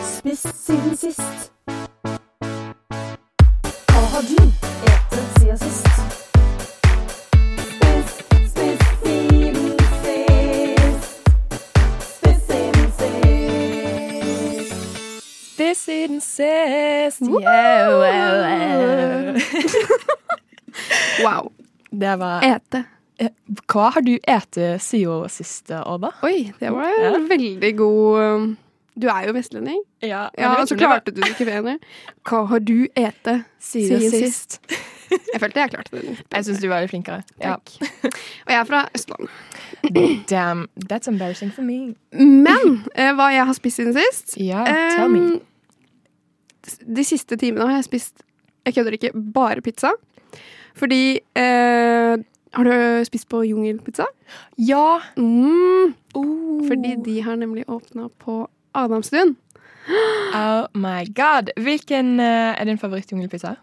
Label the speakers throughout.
Speaker 1: spist siden sist? Hva har du etet siden sist? Spist, spist siden sist. Spist siden sist.
Speaker 2: Spist siden sist. Yeah, wow, wow.
Speaker 3: Wow.
Speaker 2: Det var
Speaker 3: Ete.
Speaker 2: Eh, Hva har du ete siden sist, Odda?
Speaker 3: Oi, det var en veldig god um, Du er jo vestlending. Ja,
Speaker 2: altså,
Speaker 3: og så klarte du det ikke bedre. Hva har du ete siden sist? Jeg følte jeg klarte det.
Speaker 2: Jeg syns du var litt flinkere. Ja.
Speaker 3: Takk. Og jeg er fra Østlandet.
Speaker 2: Damn, that's embarrassing for me.
Speaker 3: Men eh, hva jeg har spist siden sist
Speaker 2: Ja, tell me.
Speaker 3: Um, De siste timene har jeg spist Jeg kødder ikke, bare pizza. Fordi eh, Har du spist på Jungelpizza?
Speaker 2: Ja.
Speaker 3: Mm,
Speaker 2: Oh.
Speaker 3: fordi de har nemlig åpna på Adamstuen.
Speaker 2: Oh my god. Hvilken eh, er din favorittjungelpizza?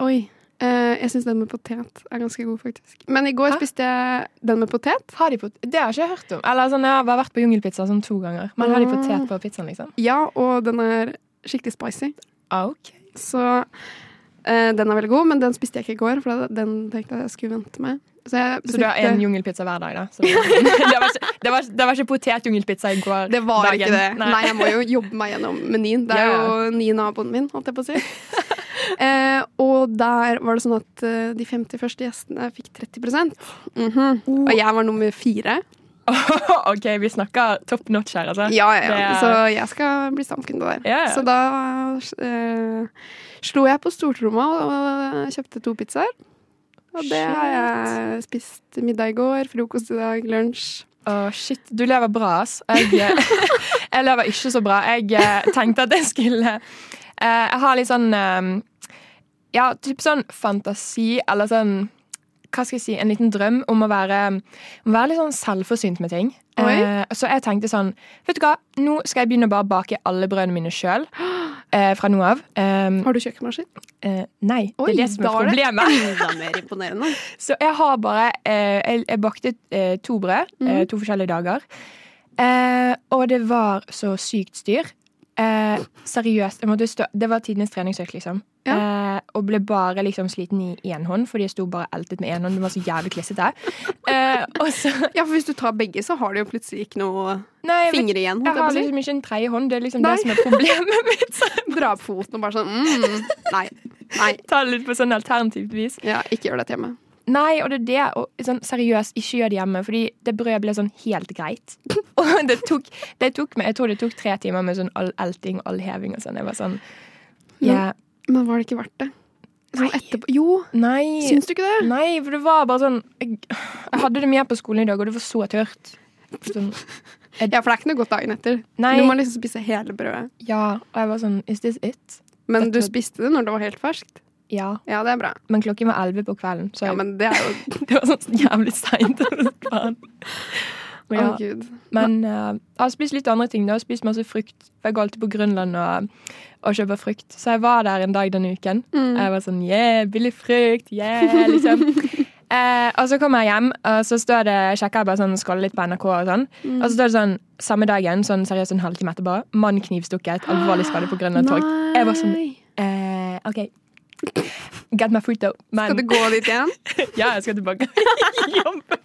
Speaker 3: Oi. eh, jeg syns den med potet er ganske god, faktisk. Men i går
Speaker 2: Hæ?
Speaker 3: spiste jeg den med potet.
Speaker 2: Har de pot det har ikke jeg hørt om. Eller sånn, Jeg har bare vært på jungelpizza sånn to ganger. Men har de
Speaker 3: Mm.
Speaker 2: potet på pizzaen, liksom?
Speaker 3: Ja, og den er skikkelig spicy.
Speaker 2: Ok.
Speaker 3: Så eh, den er veldig god, men den spiste jeg ikke i går, for da- den tenkte jeg jeg skulle vente med. Så, jeg
Speaker 2: Så du har
Speaker 3: bestilte-
Speaker 2: én jungelpizza hver dag, da? Så det, var ikke, det, var, det var ikke potetjungelpizza i går.
Speaker 3: Det var
Speaker 2: dagen.
Speaker 3: ikke det. Nei. jeg må jo jobbe meg gjennom menyen. Det er
Speaker 2: Ja, ja.
Speaker 3: jo nye naboen min, holdt jeg på å si. eh, og der var det sånn at eh, de 50 første gjestene fikk 30 Mhm. Og jeg var nummer fire.
Speaker 2: OK, vi snakker top notch her, altså.
Speaker 3: Ja, ja,
Speaker 2: Det
Speaker 3: ja.
Speaker 2: er-
Speaker 3: Så jeg skal bli stamkunde der.
Speaker 2: Ja, ja.
Speaker 3: Så da eh, slo jeg på stortromma og kjøpte to pizzaer. Og det har jeg spist middag i går, frokost i dag, lunsj.
Speaker 2: Å, shit. Du lever bra, ass. Jeg, eh, jeg lever ikke så bra. Jeg eh, tenkte at jeg skulle eh, Jeg har litt sånn eh, Ja, typ sånn fantasi, eller sånn Hva skal jeg si? En liten drøm om å være, om å være litt sånn selvforsynt med ting.
Speaker 3: Oi.
Speaker 2: Eh, så jeg tenkte sånn Vet du hva, nå skal jeg begynne å bare bake alle brødene mine sjøl eh, fra nå av. Eh,
Speaker 3: Har du kjøkkenmaskin?
Speaker 2: eh, nei, det
Speaker 3: Oi,
Speaker 2: er det som
Speaker 3: da
Speaker 2: er
Speaker 3: er det-
Speaker 2: problemet.
Speaker 3: Enda mer imponerende.
Speaker 2: Så jeg har bare eh, Jeg, jeg bakte eh, to brød
Speaker 3: Mhm.
Speaker 2: eh, to forskjellige dager. Eh, og det var så sykt styr. Eh, seriøst. Jeg måtte stå, det var tidenes treningsøkt, liksom. Eh, og ble bare liksom sliten i én hånd, fordi jeg sto bare eltet med én hånd. Det var så jævlig klissete. Eh, og så
Speaker 3: Ja, for hvis du tar begge, så har du jo plutselig ikke noe
Speaker 2: Nei, jeg, vet,
Speaker 3: fingre igjen.
Speaker 2: jeg
Speaker 3: holdt
Speaker 2: har
Speaker 3: Jeg
Speaker 2: liksom ikke en tredje hånd. Det er liksom
Speaker 3: Nei.
Speaker 2: det som er problemet mitt. Så
Speaker 3: på å si. Dra opp foten og bare sånn mm, Nei. Nei.
Speaker 2: jeg tar det litt på sånn alternativt vis.
Speaker 3: Ja, ikke gjør dette hjemme.
Speaker 2: Nei, og det er det. Og sånn, seriøst, ikke gjør det hjemme, fordi det brødet ble sånn helt greit. Og det tok, det tok meg, jeg tror det tok tre timer med sånn all elting og all heving og sånn. Jeg var sånn ja,
Speaker 3: Men var det ikke verdt det? Sånn
Speaker 2: Nei.
Speaker 3: etterpå Jo,
Speaker 2: Nei.
Speaker 3: syns du ikke det?
Speaker 2: Nei, for det var bare sånn Jeg, jeg hadde det med på skolen i dag, og det var så tørt. Sånn,
Speaker 3: Ja, for det er ikke noe godt dagen etter.
Speaker 2: Nei.
Speaker 3: Du må liksom spise hele brødet.
Speaker 2: ja, og jeg var sånn Is this it?
Speaker 3: Men
Speaker 2: Dette-
Speaker 3: du spiste det når det var helt ferskt.
Speaker 2: Ja.
Speaker 3: Ja, det er bra.
Speaker 2: Men klokken var elleve på kvelden, så
Speaker 3: Ja, men det er jo
Speaker 2: det var sånn jævlig seint.
Speaker 3: Å,
Speaker 2: Ja.
Speaker 3: gud.
Speaker 2: Men eh, jeg har spist litt andre ting. da. Jeg har spist masse frukt. For jeg går alltid på Grønland og, og kjøper frukt. Så jeg var der en dag denne uken.
Speaker 3: Mm.
Speaker 2: Jeg var sånn yeah, billig frukt, yeah, liksom. Eh, og så kommer jeg hjem, og så står det, sjekker jeg bare sånn, scroller litt på NRK og sånn.
Speaker 3: Mm.
Speaker 2: Og så står det sånn samme dagen, sånn seriøst en halvtime etterpå, mann knivstukket, alvorlig skade på Grønland torg. Jeg var sånn
Speaker 3: Nei.
Speaker 2: eh, OK. Get my foot out. Men
Speaker 3: Skal du gå dit igjen?
Speaker 2: ja, jeg skal tilbake og jobbe.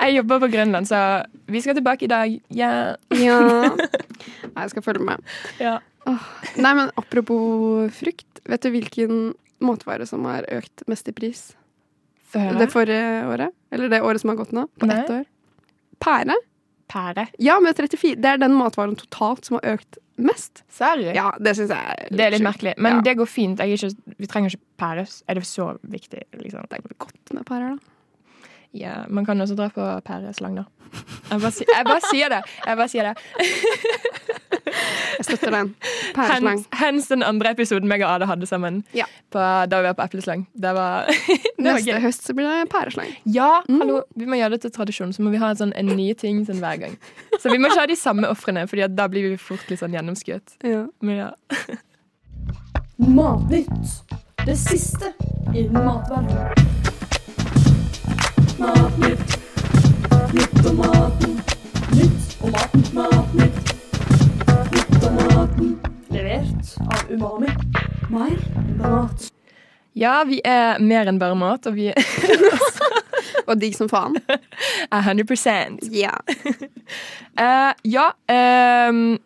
Speaker 2: Jeg jobber på Grønland, så vi skal tilbake i dag. Ja.
Speaker 3: Ja. Nei, jeg skal følge med.
Speaker 2: ja.
Speaker 3: Nei, men apropos frukt. Vet du hvilken matvare som har økt mest i pris? Det forrige året? Eller det året som har gått nå? På
Speaker 2: Nei.
Speaker 3: ett år? Pære?
Speaker 2: pære.
Speaker 3: Ja, med 34. Det er den matvaren totalt som har økt mest.
Speaker 2: Serr?
Speaker 3: Ja, det syns jeg er
Speaker 2: Det er litt
Speaker 3: sjukt.
Speaker 2: merkelig, men
Speaker 3: Ja.
Speaker 2: det går fint. Jeg er ikke, vi trenger ikke pære. Er det så viktig, liksom?
Speaker 3: Det er godt med pærer, da.
Speaker 2: Ja, man kan også dra på pæreslang, da. Jeg bare, si, jeg bare sier det. Jeg bare sier det.
Speaker 3: Jeg støtter den. Pæreslang.
Speaker 2: Hens, hens den andre episoden meg og Ada hadde sammen
Speaker 3: Ja.
Speaker 2: på, da vi var på epleslang. Det var, det var
Speaker 3: Neste Mm.
Speaker 2: gøy.
Speaker 3: høst så blir det pæreslang.
Speaker 2: Ja, hallo, vi må gjøre det til tradisjon, så må vi ha en, sånn, en ny ting sånn, hver gang. Så vi må ikke ha de samme ofrene, for da blir vi fort litt sånn gjennomskuet.
Speaker 3: Ja.
Speaker 2: Men ja.
Speaker 1: Matnytt. Det siste innen matverden. Matnytt. Nytt om maten. Nytt om maten. Matnytt. Nytt om maten. umami. Mer enn bare mat.
Speaker 2: Ja, vi er mer enn bare mat, og vi er
Speaker 3: Og digg som faen.
Speaker 2: 100
Speaker 3: Ja.
Speaker 2: Eh, ja. ehm,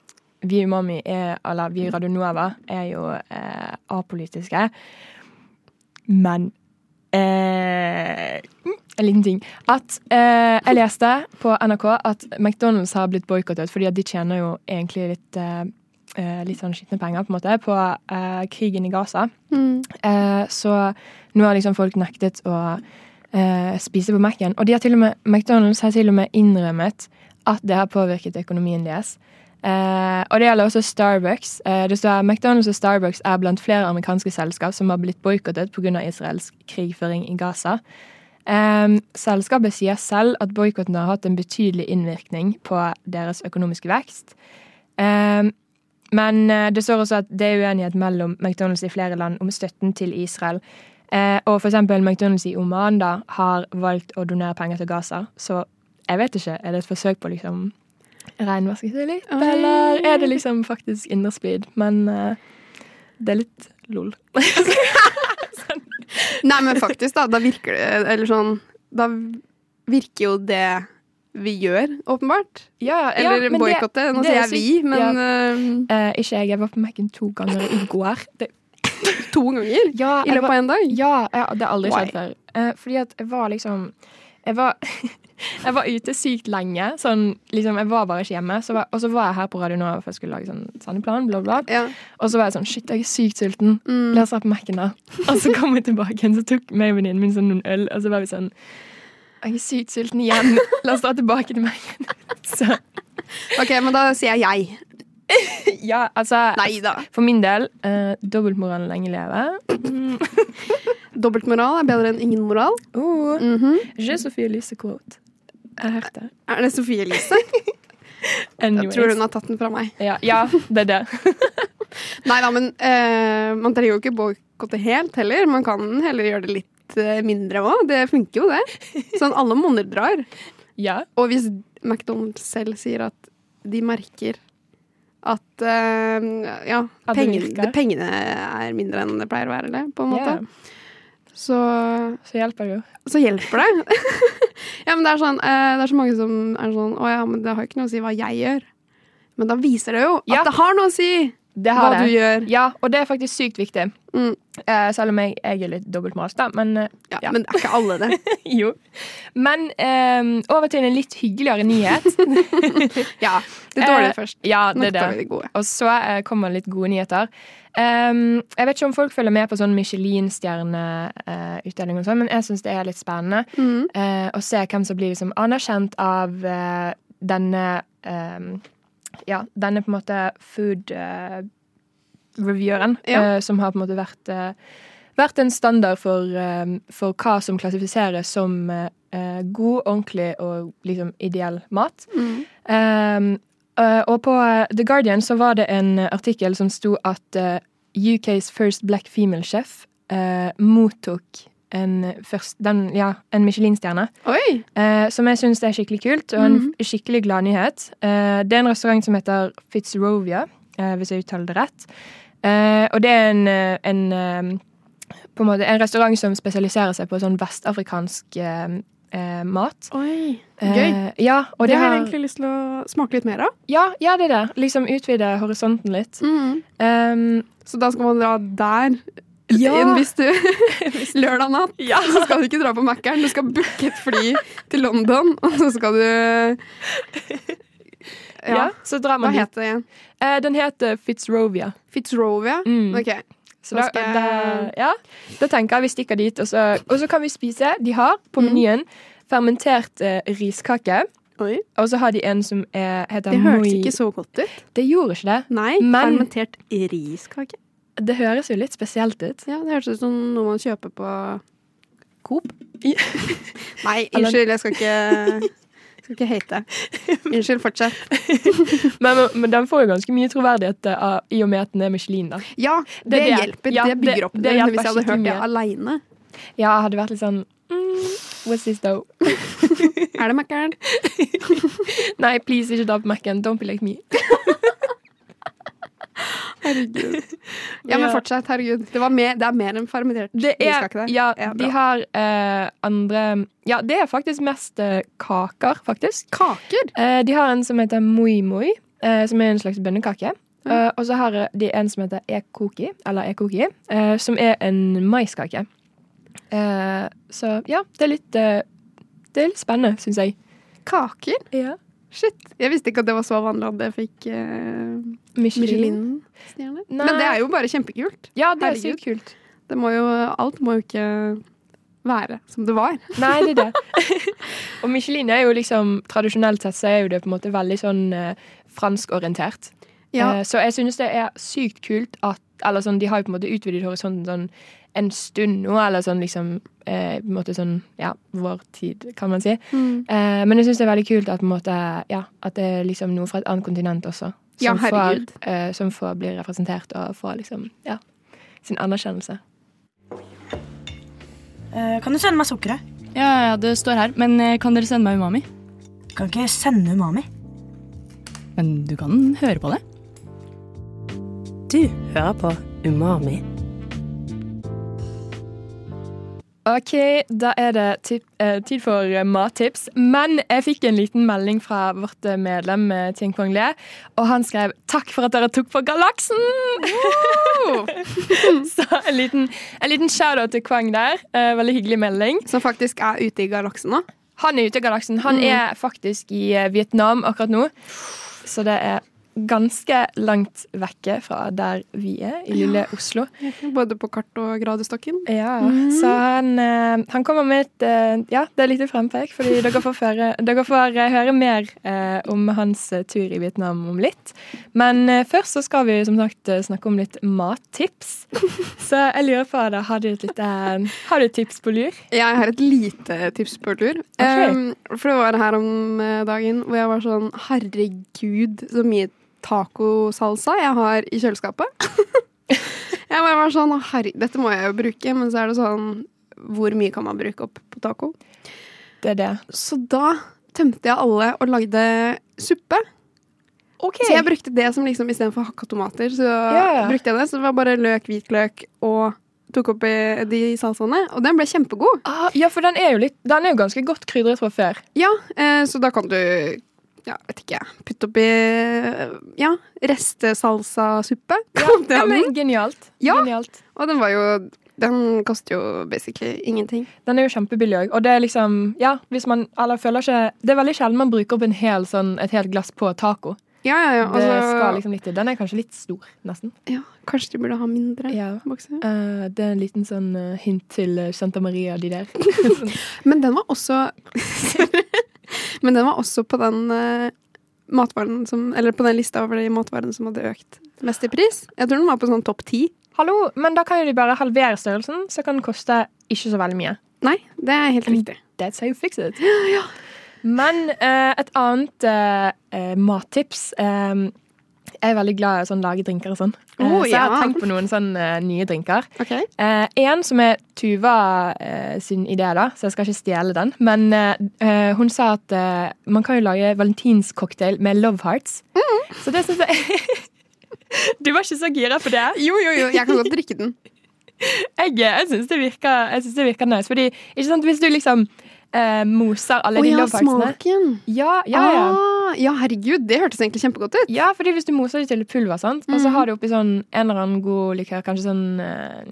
Speaker 2: vi i Mami er, eller vi i Radio Nova er jo eh, apolitiske. Men eh, mm, En liten ting. At eh, Jeg leste på NRK at McDonald's har blitt boikottet fordi at de tjener jo egentlig litt eh, eh, Litt sånn skitne penger på en måte på eh, krigen i Gaza. Eh, så nå har liksom folk nektet å eh, spise på Mac-en. Og de har til og med, McDonald's har til og med innrømmet at det har påvirket økonomien deres. Eh, og det gjelder også Starbucks. Eh, det står McDonald's og Starbucks er blant flere amerikanske selskap som har blitt boikottet pga. israelsk krigføring i Gaza. Eh, selskapet sier selv at boikotten har hatt en betydelig innvirkning på deres økonomiske vekst. Eh, men eh, det står også at det er uenighet mellom McDonald's i flere land om støtten til Israel. Eh, og for eksempel McDonald's i Oman da, har valgt å donere penger til Gaza. Så jeg vet ikke. Er det et forsøk på å liksom renvaske seg litt?
Speaker 3: Oi.
Speaker 2: Eller er det liksom faktisk innerspeed? Men eh, det er litt lol.
Speaker 3: Nei, men faktisk, da. Da virker det Eller sånn Da virker jo det vi gjør, åpenbart.
Speaker 2: ja,
Speaker 3: Eller
Speaker 2: men det-
Speaker 3: boikotte. Nå
Speaker 2: det
Speaker 3: sier
Speaker 2: er
Speaker 3: jeg vi,
Speaker 2: sykt.
Speaker 3: men
Speaker 2: Ja.
Speaker 3: eh,
Speaker 2: Eh, ikke jeg. Jeg var på Mac-en to ganger i går. Det,
Speaker 3: eh, to ganger
Speaker 2: ja,
Speaker 3: i
Speaker 2: jeg var-
Speaker 3: løpet av en dag.
Speaker 2: Ja, jeg, det har aldri
Speaker 3: Why?
Speaker 2: skjedd før. Eh, fordi at jeg var liksom Jeg var, jeg var ute sykt lenge. Sånn, liksom, jeg var bare ikke hjemme. Så var, og så var jeg her på Radio Nova for jeg skulle lage sånn sendeplan. Bla, bla.
Speaker 3: Ja.
Speaker 2: Og så var jeg sånn Shit, jeg er sykt sulten.
Speaker 3: Mm.
Speaker 2: La oss dra på Mac-en, da. Og så kom jeg tilbake igjen, så tok meg og venninnen min sånn noen øl, og så var vi sånn Jeg er sykt sulten igjen. La oss dra tilbake til Mac-en. Så
Speaker 3: Ok, men da sier jeg jeg.
Speaker 2: ja, altså
Speaker 3: Nei da.
Speaker 2: For min del, eh, dobbeltmoralen lenge leve. Mm.
Speaker 3: Dobbeltmoral er bedre enn ingen moral.
Speaker 2: Oh,
Speaker 3: Mhm.
Speaker 2: Je Sophie Elise-quote. Jeg har hørt det.
Speaker 3: Er det Sofie Elise? Jeg
Speaker 2: Anyways.
Speaker 3: tror hun har tatt den fra meg.
Speaker 2: Ja, ja, det er det.
Speaker 3: Nei da, men eh, man trenger jo ikke boikotte helt heller. Man kan heller gjøre det litt eh, mindre òg. Det funker jo, det. Sånn alle monner drar.
Speaker 2: Ja.
Speaker 3: Og hvis McDonald's selv sier at de merker at eh, ja,
Speaker 2: At det
Speaker 3: pengene,
Speaker 2: virker.
Speaker 3: pengene er mindre enn det pleier å være, eller, på en måte,
Speaker 2: Ja,
Speaker 3: så,
Speaker 2: så hjelper det jo.
Speaker 3: så hjelper det. ja, men det er, sånn, eh, det er så mange som er sånn Å ja, men det har ikke noe å si hva jeg gjør. Men da viser det jo at
Speaker 2: Ja.
Speaker 3: det har noe å si
Speaker 2: Det
Speaker 3: hva
Speaker 2: har
Speaker 3: du
Speaker 2: det.
Speaker 3: gjør.
Speaker 2: Ja, og det er faktisk sykt viktig.
Speaker 3: Mm.
Speaker 2: Eh, selv om jeg, jeg er litt dobbeltmoralsk, da. Men eh,
Speaker 3: Ja,
Speaker 2: Ja.
Speaker 3: Men det er ikke alle det.
Speaker 2: jo. Men eh, over til en litt hyggeligere nyhet.
Speaker 3: Ja, det dårlige
Speaker 2: Eh,
Speaker 3: først.
Speaker 2: ja,
Speaker 3: Nå
Speaker 2: det er
Speaker 3: tar vi
Speaker 2: det.
Speaker 3: det gode.
Speaker 2: Og så eh, kommer litt gode nyheter. Ehm, jeg vet ikke om folk følger med på sånn Michelin-stjerneutdeling, og sånn, men jeg syns det er litt spennende
Speaker 3: Mm.
Speaker 2: eh, å se hvem som blir liksom anerkjent av eh, denne eh, Ja, denne på en måte food-revieweren,
Speaker 3: Ja.
Speaker 2: som har på en måte vært, eh, vært en standard for, eh, for hva som klassifiseres som eh, eh, god, ordentlig og liksom ideell mat.
Speaker 3: Mm.
Speaker 2: Um, uh, og på uh, The Guardian så var det en uh, artikkel som sto at uh, UKs first black female chef uh, mottok en, uh, først, den, ja, en Michelin-stjerne,
Speaker 3: Oi!
Speaker 2: uh, som jeg syns er skikkelig kult, og en
Speaker 3: Mhm.
Speaker 2: f- skikkelig glad nyhet. Uh, det er en restaurant som heter Fitzrovia, uh, hvis jeg uttaler det rett. Uh, og det er en, uh, en um, på en måte en restaurant som spesialiserer seg på sånn vestafrikansk um, eh, mat.
Speaker 3: Gøy.
Speaker 2: Eh, ja, og
Speaker 3: det,
Speaker 2: det,
Speaker 3: har jeg
Speaker 2: har
Speaker 3: egentlig lyst til å smake litt mer av.
Speaker 2: ja, ja, det er det. Liksom utvide horisonten litt. Um,
Speaker 3: Så da skal man dra der
Speaker 2: Ja.
Speaker 3: inn hvis du Lørdag natt. Så skal du ikke dra på Mækkern, du skal booke et fly til London, og så skal du
Speaker 2: ja.
Speaker 3: Ja.
Speaker 2: så drar
Speaker 3: Hva
Speaker 2: man dit.
Speaker 3: het det igjen?
Speaker 2: Eh, den heter Fitzrovia.
Speaker 3: Fitzrovia?
Speaker 2: Mm.
Speaker 3: Ok.
Speaker 2: Så
Speaker 3: Da
Speaker 2: da,
Speaker 3: skal jeg-
Speaker 2: da, ja, da tenker jeg vi stikker dit, og så, og så kan vi spise. De har på menyen fermentert eh, riskake.
Speaker 3: Oi.
Speaker 2: Og så har de en som er, heter
Speaker 3: Det hørtes
Speaker 2: moi-
Speaker 3: ikke så godt ut.
Speaker 2: Det gjorde ikke det.
Speaker 3: Nei.
Speaker 2: Men-
Speaker 3: Fermentert riskake.
Speaker 2: Det høres jo litt spesielt ut.
Speaker 3: Ja, det hørtes ut som noe man kjøper på Coop.
Speaker 2: I-
Speaker 3: Nei,
Speaker 2: Eller-
Speaker 3: unnskyld, jeg skal ikke Skal ikke hate. Unnskyld, fortsett.
Speaker 2: Men, men den får jo ganske mye troverdighet eh, av, i og med at den er Michelin, da.
Speaker 3: Ja, det,
Speaker 2: Det er det.
Speaker 3: hjelper.
Speaker 2: Ja,
Speaker 3: det bygger
Speaker 2: det-
Speaker 3: opp
Speaker 2: det
Speaker 3: under
Speaker 2: hjelper
Speaker 3: hvis jeg hadde hørt
Speaker 2: skikkelig
Speaker 3: det
Speaker 2: mye.
Speaker 3: aleine.
Speaker 2: Ja, jeg hadde vært litt sånn mm, What's this though?
Speaker 3: Er det Mækkern?
Speaker 2: Nei, please, ikke ta på Mac-en. Don't be like me.
Speaker 3: Herregud. Ja, men
Speaker 2: Ja.
Speaker 3: fortsett. Herregud. Det, var mer, det er mer enn fermentert.
Speaker 2: Det
Speaker 3: Vi skal
Speaker 2: er,
Speaker 3: ikke det.
Speaker 2: ja,
Speaker 3: Ja,
Speaker 2: de
Speaker 3: bra.
Speaker 2: har eh, andre Ja, det er faktisk mest eh, kaker, faktisk.
Speaker 3: Kaker?
Speaker 2: Eh, de har en som heter moi moi, eh, som er en slags bønnekake. Eh, og så har de en som heter ekoki, eller ekoki, eh, som er en maiskake. Eh, så ja, det er litt, eh, det er litt spennende, syns jeg.
Speaker 3: Kaker? Shit. Jeg visste ikke at det var så vanlig at det fikk eh,
Speaker 2: Michelin.
Speaker 3: Michelin-stjerne.
Speaker 2: Nei.
Speaker 3: Men det er jo bare kjempekult.
Speaker 2: Ja, det er
Speaker 3: Herregud.
Speaker 2: sykt kult.
Speaker 3: Det må jo, alt må jo ikke være som det var.
Speaker 2: Nei, det er det. og Michelin er jo liksom Tradisjonelt sett så er jo det på en måte veldig sånn eh, franskorientert.
Speaker 3: Ja.
Speaker 2: Eh, så jeg synes det er sykt kult at Eller sånn, de har jo på en måte utvidet horisonten sånn en stund nå, eller sånn liksom eh, På en måte sånn Ja, vår tid, kan man si.
Speaker 3: Mm.
Speaker 2: Eh, men jeg syns det er veldig kult at på en måte Ja, at det er liksom noe fra et annet kontinent også.
Speaker 3: Ja,
Speaker 2: får,
Speaker 3: herregud.
Speaker 2: eh, som får bli representert og får liksom Ja, sin anerkjennelse.
Speaker 4: Eh, Kan du sende meg sukkeret?
Speaker 5: Ja, ja, det står her. Men eh, kan dere sende meg umami?
Speaker 4: Kan ikke sende umami.
Speaker 5: Men du kan høre på det.
Speaker 6: Du hører på Umami.
Speaker 2: Ok, da er det tip, eh, tid for eh, mattips. Men jeg fikk en liten melding fra vårt eh, medlem eh, Tien Kwang Le, og han skrev 'Takk for at dere tok på Galaksen'! Så en liten, en liten shout-out til Kwang der. Eh, veldig hyggelig melding.
Speaker 3: Som faktisk er ute i galaksen nå.
Speaker 2: Han er ute i galaksen. Han er faktisk i eh, Vietnam akkurat nå. Så det er ganske langt vekke fra der vi er, i lille Oslo.
Speaker 3: Både på kart og gradestokken.
Speaker 2: Ja, så han, eh, han kommer med et eh, Ja, det er lite frempek, fordi dere får, føre, dere får eh, høre mer eh, om hans eh, tur i Vietnam om litt. Men eh, først så skal vi som sagt eh, snakke om litt mattips. Så jeg lurer på deg, har du et lite eh, Har du et tips på lur?
Speaker 3: Jeg har et lite tips på tur. Um, for det var her om eh, dagen hvor jeg var sånn Herregud, så mye tacosalsa jeg har i kjøleskapet. jeg bare var sånn Herre, dette må jeg jo bruke, men så er det sånn Hvor mye kan man bruke opp på taco?
Speaker 2: Det er det.
Speaker 3: Så da tømte jeg alle og lagde suppe. Så jeg brukte det som liksom istedenfor hakka tomater, så
Speaker 2: Ja.
Speaker 3: brukte jeg det. Så det var bare løk, hvitløk og tok oppi de salsaene. Og den ble kjempegod.
Speaker 2: Ah, ja, for den er jo litt Den er jo ganske godt krydret fra før.
Speaker 3: Ja, eh, så da kan du ja, vet ikke, putte oppi ja, restesalsasuppe.
Speaker 2: Ja, men genialt.
Speaker 3: Ja.
Speaker 2: genialt.
Speaker 3: Og den var jo Den koster jo basically ingenting.
Speaker 2: Den er jo kjempebillig òg. Og det er liksom Ja, hvis man Eller føler ikke Det er veldig sjelden man bruker opp en hel, sånn, et helt glass på taco.
Speaker 3: Ja, ja, ja. og
Speaker 2: det
Speaker 3: så-
Speaker 2: skal liksom litt til. Den er kanskje litt stor, nesten.
Speaker 3: liksom- ja kanskje de burde ha mindre
Speaker 2: Ja.
Speaker 3: bokser.
Speaker 2: Eh, det er en liten sånn eh, hint til eh, Santa Maria og de der.
Speaker 3: Men den var også Men den var også på den eh, matvaren som Eller på den lista over de matvarene som hadde økt mest i pris. Jeg tror den var på sånn topp ti.
Speaker 2: Hallo, men da kan jo de bare halvere størrelsen, så kan den koste ikke så veldig mye.
Speaker 3: Nei, det er helt riktig.
Speaker 2: That's how you fix it. Men eh, et annet eh, eh, mattips eh, Jeg er veldig glad i å sånn, lage drinker og sånn. Eh,
Speaker 3: Å,
Speaker 2: så jeg har
Speaker 3: ja.
Speaker 2: tenkt på noen sånn eh, nye drinker.
Speaker 3: Ok.
Speaker 2: Eh, en som er Tuva eh, sin idé, da, så jeg skal ikke stjele den. Men eh, eh, hun sa at eh, man kan jo lage valentinscocktail med love hearts. Så det syns jeg Mm. Du var ikke så gira på det?
Speaker 3: Jo, jo, jo, jeg kan godt drikke den.
Speaker 2: Jeg, jeg syns det, virker- jeg synes det virker nice. Fordi, ikke sant, hvis du liksom eh, moser alle
Speaker 3: Å
Speaker 2: de
Speaker 3: ja,
Speaker 2: love heartsene
Speaker 3: smaken.
Speaker 2: ja, ja, ja.
Speaker 3: Ah, ja, herregud, det hørtes egentlig kjempegodt ut.
Speaker 2: Ja, fordi hvis du moser det til pulver, sant? og så har du oppi sånn en eller annen god likør, kanskje sånn eh,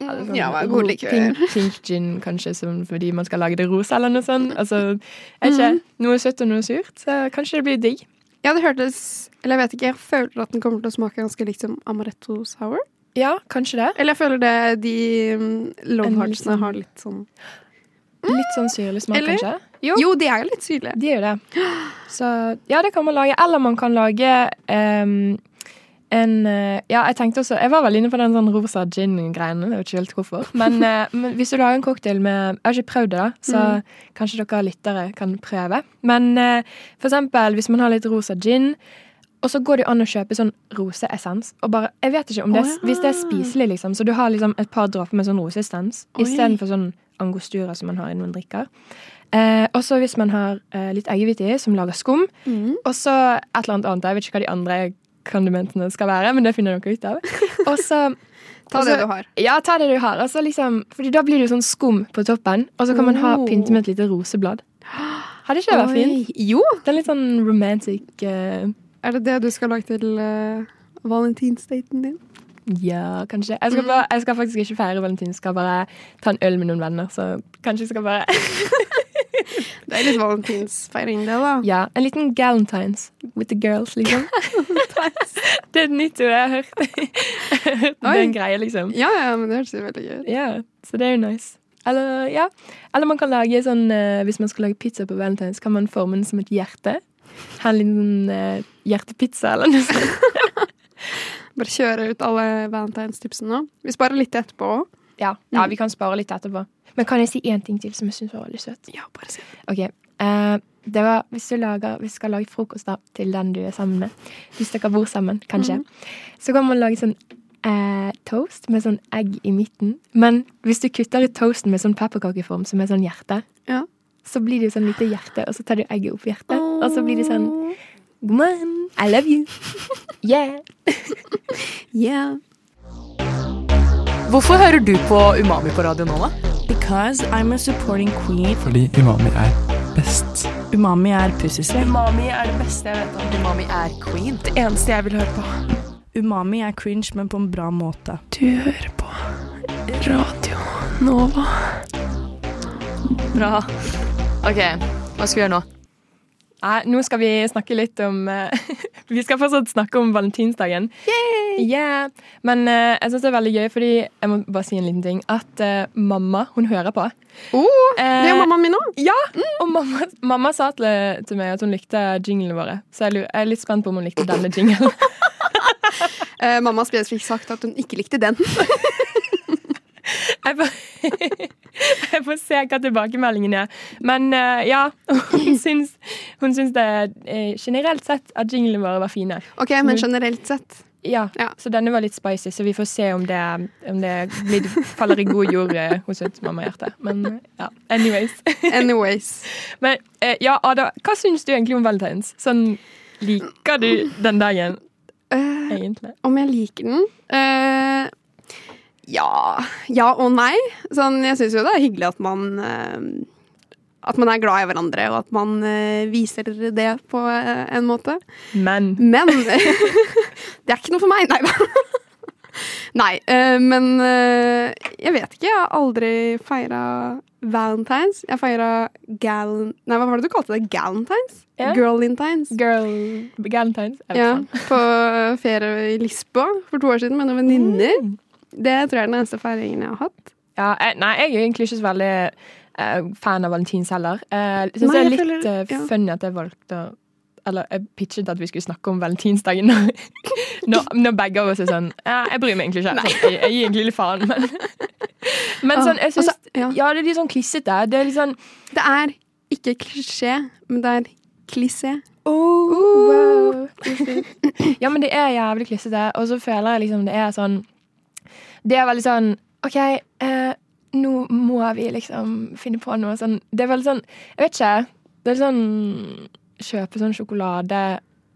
Speaker 2: eller sånn
Speaker 3: Ja, god likør.
Speaker 2: Pink, pink gin, kanskje, som fordi man skal lage det rosa eller noe sånt. Altså, er ikke noe søtt og noe surt, så kanskje det blir digg.
Speaker 3: Ja, det hørtes Eller jeg vet ikke, jeg føler at den kommer til å smake ganske likt som Amaretto Sour.
Speaker 2: Ja, kanskje det.
Speaker 3: Eller jeg føler det de mm,
Speaker 2: En
Speaker 3: Love
Speaker 2: liten-
Speaker 3: Heartsene har litt sånn
Speaker 2: Litt sånn syrlig smak,
Speaker 3: Eller?
Speaker 2: kanskje.
Speaker 3: Jo, de er jo litt syrlige.
Speaker 2: De er jo det. Så ja, det kan man lage. Eller man kan lage ehm, en eh, Ja, jeg tenkte også Jeg var vel inne på den sånn rosa gin-greien. Jeg vet ikke helt hvorfor. Men, eh, men hvis du lager en cocktail med Jeg har ikke prøvd det, da, så
Speaker 3: Mm.
Speaker 2: kanskje dere lyttere kan prøve. Men eh, for eksempel hvis man har litt rosa gin og så går det jo an å kjøpe sånn roseessens. Og bare, jeg vet ikke om det, er-
Speaker 3: Å, ja.
Speaker 2: Hvis det er spiselig, liksom, så du har liksom et par dråper med sånn roseessens
Speaker 3: Oi.
Speaker 2: istedenfor sånn angostura som man har i noen drikker. Eh, og så
Speaker 3: Mm.
Speaker 2: hvis man har eh, litt eggehvite i, som lager skum, og så et eller annet annet. Jeg vet ikke hva de andre kondimentene skal være, men det finner dere ut av. Og så
Speaker 3: Ta det du har.
Speaker 2: Ja, ta det du har. Og så liksom, fordi da blir det jo sånn skum på toppen, og så kan man ha
Speaker 3: Oh.
Speaker 2: pynte med et lite roseblad. Hadde ikke det vært fint?
Speaker 3: Oi. Jo!
Speaker 2: Det er litt sånn romantic eh,
Speaker 3: Er det det du skal lage til eh, valentinsdaten din?
Speaker 2: Ja, kanskje. Jeg
Speaker 3: Mm.
Speaker 2: skal, bare, jeg skal faktisk ikke feire valentins, skal bare ta en øl med noen venner. Så kanskje jeg skal bare
Speaker 3: Det er litt valentinsfeiring, det, da.
Speaker 2: Ja, en liten galentines with the girls, liksom. det er et nytt ord jeg har hørt. det er
Speaker 3: Oi.
Speaker 2: en greie, liksom.
Speaker 3: Ja, ja, men det høres jo veldig gøy ut.
Speaker 2: Ja, så det er jo nice. Eller, ja. Eller man kan lage sånn eh, Hvis man skal lage pizza på valentines, kan man forme den som et hjerte. Ha en liten eh, hjertepizza eller noe sånt.
Speaker 3: Bare kjøre ut alle valentinstipsene nå. Vi sparer litt til etterpå òg.
Speaker 2: Ja. ja, vi kan spare litt etterpå. Mm. Men kan jeg si én ting til som jeg syns var veldig søt?
Speaker 3: Ja, bare si
Speaker 2: Ok, eh, det var, hvis du lager, hvis du skal lage frokost da, til den du er sammen med, hvis dere bor sammen, kanskje, så kan man lage sånn eh, toast med sånn egg i midten. Men hvis du kutter ut toasten med sånn pepperkakeform, som er sånn hjerte,
Speaker 3: Ja.
Speaker 2: så blir det jo sånn lite hjerte, og så tar du egget opp i hjertet, og så blir det sånn, god morgen, I love you, yeah.
Speaker 3: Yeah.
Speaker 5: Hvorfor hører du på Umami på radio nå, da?
Speaker 4: Because I'm a supporting queen.
Speaker 7: Fordi umami er best.
Speaker 4: Umami er pussestrek.
Speaker 6: Umami er det beste jeg vet om. Umami er queen. Det eneste jeg vil høre på.
Speaker 4: Umami er cringe, men på en bra måte.
Speaker 5: Bra. Ok, hva skal vi gjøre nå?
Speaker 2: Nei, nå skal vi snakke litt om eh, Vi skal fortsatt snakke om valentinsdagen. Yeah! Men eh, jeg syns det er veldig gøy, fordi jeg må bare si en liten ting. At eh, mamma, hun hører på.
Speaker 3: Oh, det er
Speaker 2: Eh,
Speaker 3: jo mammaen min òg.
Speaker 2: Ja!
Speaker 5: Mm.
Speaker 2: Og mamma, mamma sa til, til meg at hun likte jinglene våre. Så jeg, lurer, jeg er litt spent på om hun likte denne jinglen.
Speaker 3: Eh, mamma har spesifikt sagt at hun ikke likte den.
Speaker 2: Jeg får, jeg får se hva tilbakemeldingen er. Men eh, ja, hun syns, hun syns det eh, generelt sett at jinglene våre var fine.
Speaker 3: Ok, Men generelt sett.
Speaker 2: Ja,
Speaker 3: Ja.
Speaker 2: så denne var litt spicy, så vi får se om det, om det blir, faller i god jord eh, hos et mammahjerte. Men eh, ja, anyways.
Speaker 3: Anyways.
Speaker 2: Men eh, ja, Ada, hva syns du egentlig om valentines? Sånn, liker du den dagen,
Speaker 3: Eh,
Speaker 2: egentlig?
Speaker 3: om jeg liker den? Eh, ja. Ja og nei. Sånn, jeg syns jo det er hyggelig at man eh, At man er glad i hverandre, og at man eh, viser det på eh, en måte.
Speaker 2: Men
Speaker 3: Men det er ikke noe for meg. Nei da. Nei, eh, men eh, jeg vet ikke. Jeg har aldri feira valentines. Jeg feira galen... Nei, hva var det du kalte det? Galentines?
Speaker 2: Ja.
Speaker 3: Girlintines?
Speaker 2: girl valentines? Jeg vet
Speaker 3: Ja,
Speaker 2: faen.
Speaker 3: på eh, ferie i Lisboa for to år siden med noen venninner.
Speaker 2: Mm.
Speaker 3: Det tror jeg er den eneste feiringen jeg har hatt.
Speaker 2: Ja, jeg, nei, jeg er egentlig ikke så veldig eh, fan av valentins heller. Uh, jeg synes
Speaker 3: Nei,
Speaker 2: det er
Speaker 3: jeg
Speaker 2: litt
Speaker 3: føler-
Speaker 2: eh,
Speaker 3: ja.
Speaker 2: funny at jeg valgte å eller jeg pitchet at vi skulle snakke om valentinsdagen når, når, når begge av oss er sånn ja, Jeg bryr meg egentlig ikke. Sånn, jeg, jeg gir egentlig litt faen, men Men sånn, jeg
Speaker 3: Og
Speaker 2: syns
Speaker 3: så- Ah, altså, ja.
Speaker 2: Ja, det er litt sånn klissete. Det er litt sånn
Speaker 3: Det er ikke klisjé, men det er klisjé.
Speaker 2: Wow. ja, men det er jævlig klissete, og så føler jeg liksom det er sånn Det er veldig sånn OK, eh, nå må vi liksom finne på noe sånn Det er veldig sånn Jeg vet ikke. Det er sånn Kjøpe sånn sjokolade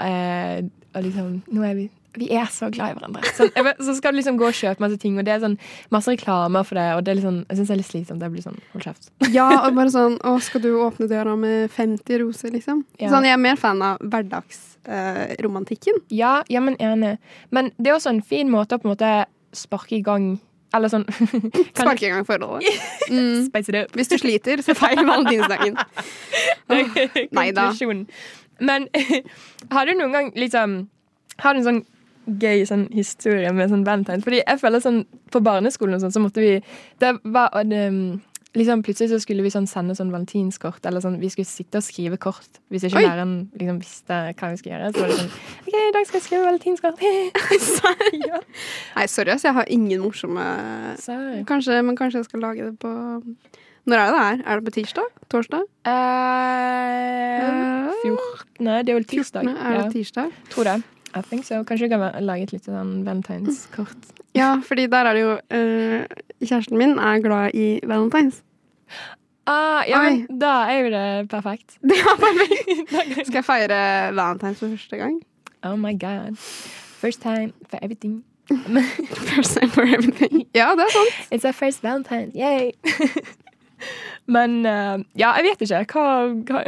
Speaker 2: eh, og liksom Nå er vi vi er så glad i hverandre. Sånn, jeg vet, så skal du liksom gå og kjøpe masse ting, og det er sånn masse reklamer for det. Og det er litt sånn, jeg syns det er litt slitsomt. Jeg blir sånn, hold kjeft.
Speaker 3: Ja, og bare sånn Å, skal du åpne døra med 50 roser, liksom?
Speaker 2: Ja.
Speaker 3: Sånn, jeg er mer fan av eh, hverdagsromantikken.
Speaker 2: Ja, ja, men enig. Men det er også en fin måte å på en måte sparke i gang Eller sånn kan-
Speaker 3: Sparke i gang forholdet. Mm.
Speaker 2: Spice it up.
Speaker 3: Hvis du sliter, så feil valentinsdagen. nei da.
Speaker 2: Konklusjonen. Men har du noen gang liksom Har du en sånn gøy sånn historie med sånn valentines? Fordi jeg føler sånn på barneskolen og sånn, så måtte vi Det var og det, um, Liksom Plutselig så skulle vi sånn sende sånn valentinskort. Eller sånn, Vi skulle sitte og skrive kort hvis ikke
Speaker 3: Oi.
Speaker 2: læreren liksom visste hva vi skulle gjøre. Så var det sånn OK, i dag skal jeg skrive valentinskort. ja.
Speaker 3: Nei, sorry, ass. Jeg har ingen morsomme
Speaker 2: Sorry.
Speaker 3: Kanskje, Men kanskje jeg skal lage det på Når er det det er? Er det på tirsdag? Torsdag?
Speaker 2: Eh, 14. Det er vel tirsdag.
Speaker 3: 14. Er det
Speaker 2: Ja,
Speaker 3: tirsdag?
Speaker 2: tror det. I think so. Kanskje vi kan va- lage et lite sånn valentinskort.
Speaker 3: Ja, fordi der er det jo eh, Kjæresten min er glad i valentines.
Speaker 2: Ah, ja,
Speaker 3: Oi.
Speaker 2: men da er jo det perfekt.
Speaker 3: Det er perfekt. Skal jeg feire valentines for første gang?
Speaker 2: Oh my god. First time for everything.
Speaker 3: First time for everything. Ja, det er sant.
Speaker 2: It's our first valentine. Yay! Men eh, ja, jeg vet ikke. Hva, hva,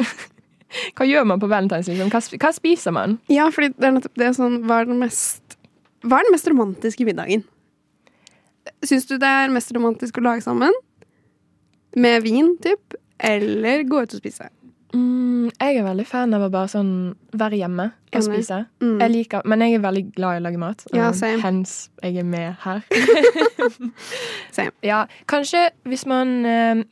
Speaker 2: hva gjør man på valentines? Liksom? Hva, sp- hva spiser man?
Speaker 3: Ja, fordi det er nettopp det sånn Hva er den mest, hva er den mest romantiske middagen? Syns du det er mest romantisk å lage sammen? Med vin, typ? Eller gå ut og spise?
Speaker 2: Mm, jeg er veldig fan av å bare sånn være hjemme og
Speaker 3: Enig.
Speaker 2: spise.
Speaker 3: Mm.
Speaker 2: Jeg liker, men jeg er veldig glad i å lage mat.
Speaker 3: Ja,
Speaker 2: Um,
Speaker 3: same.
Speaker 2: Hens jeg er med her.
Speaker 3: Same.
Speaker 2: Ja, kanskje hvis man, eh,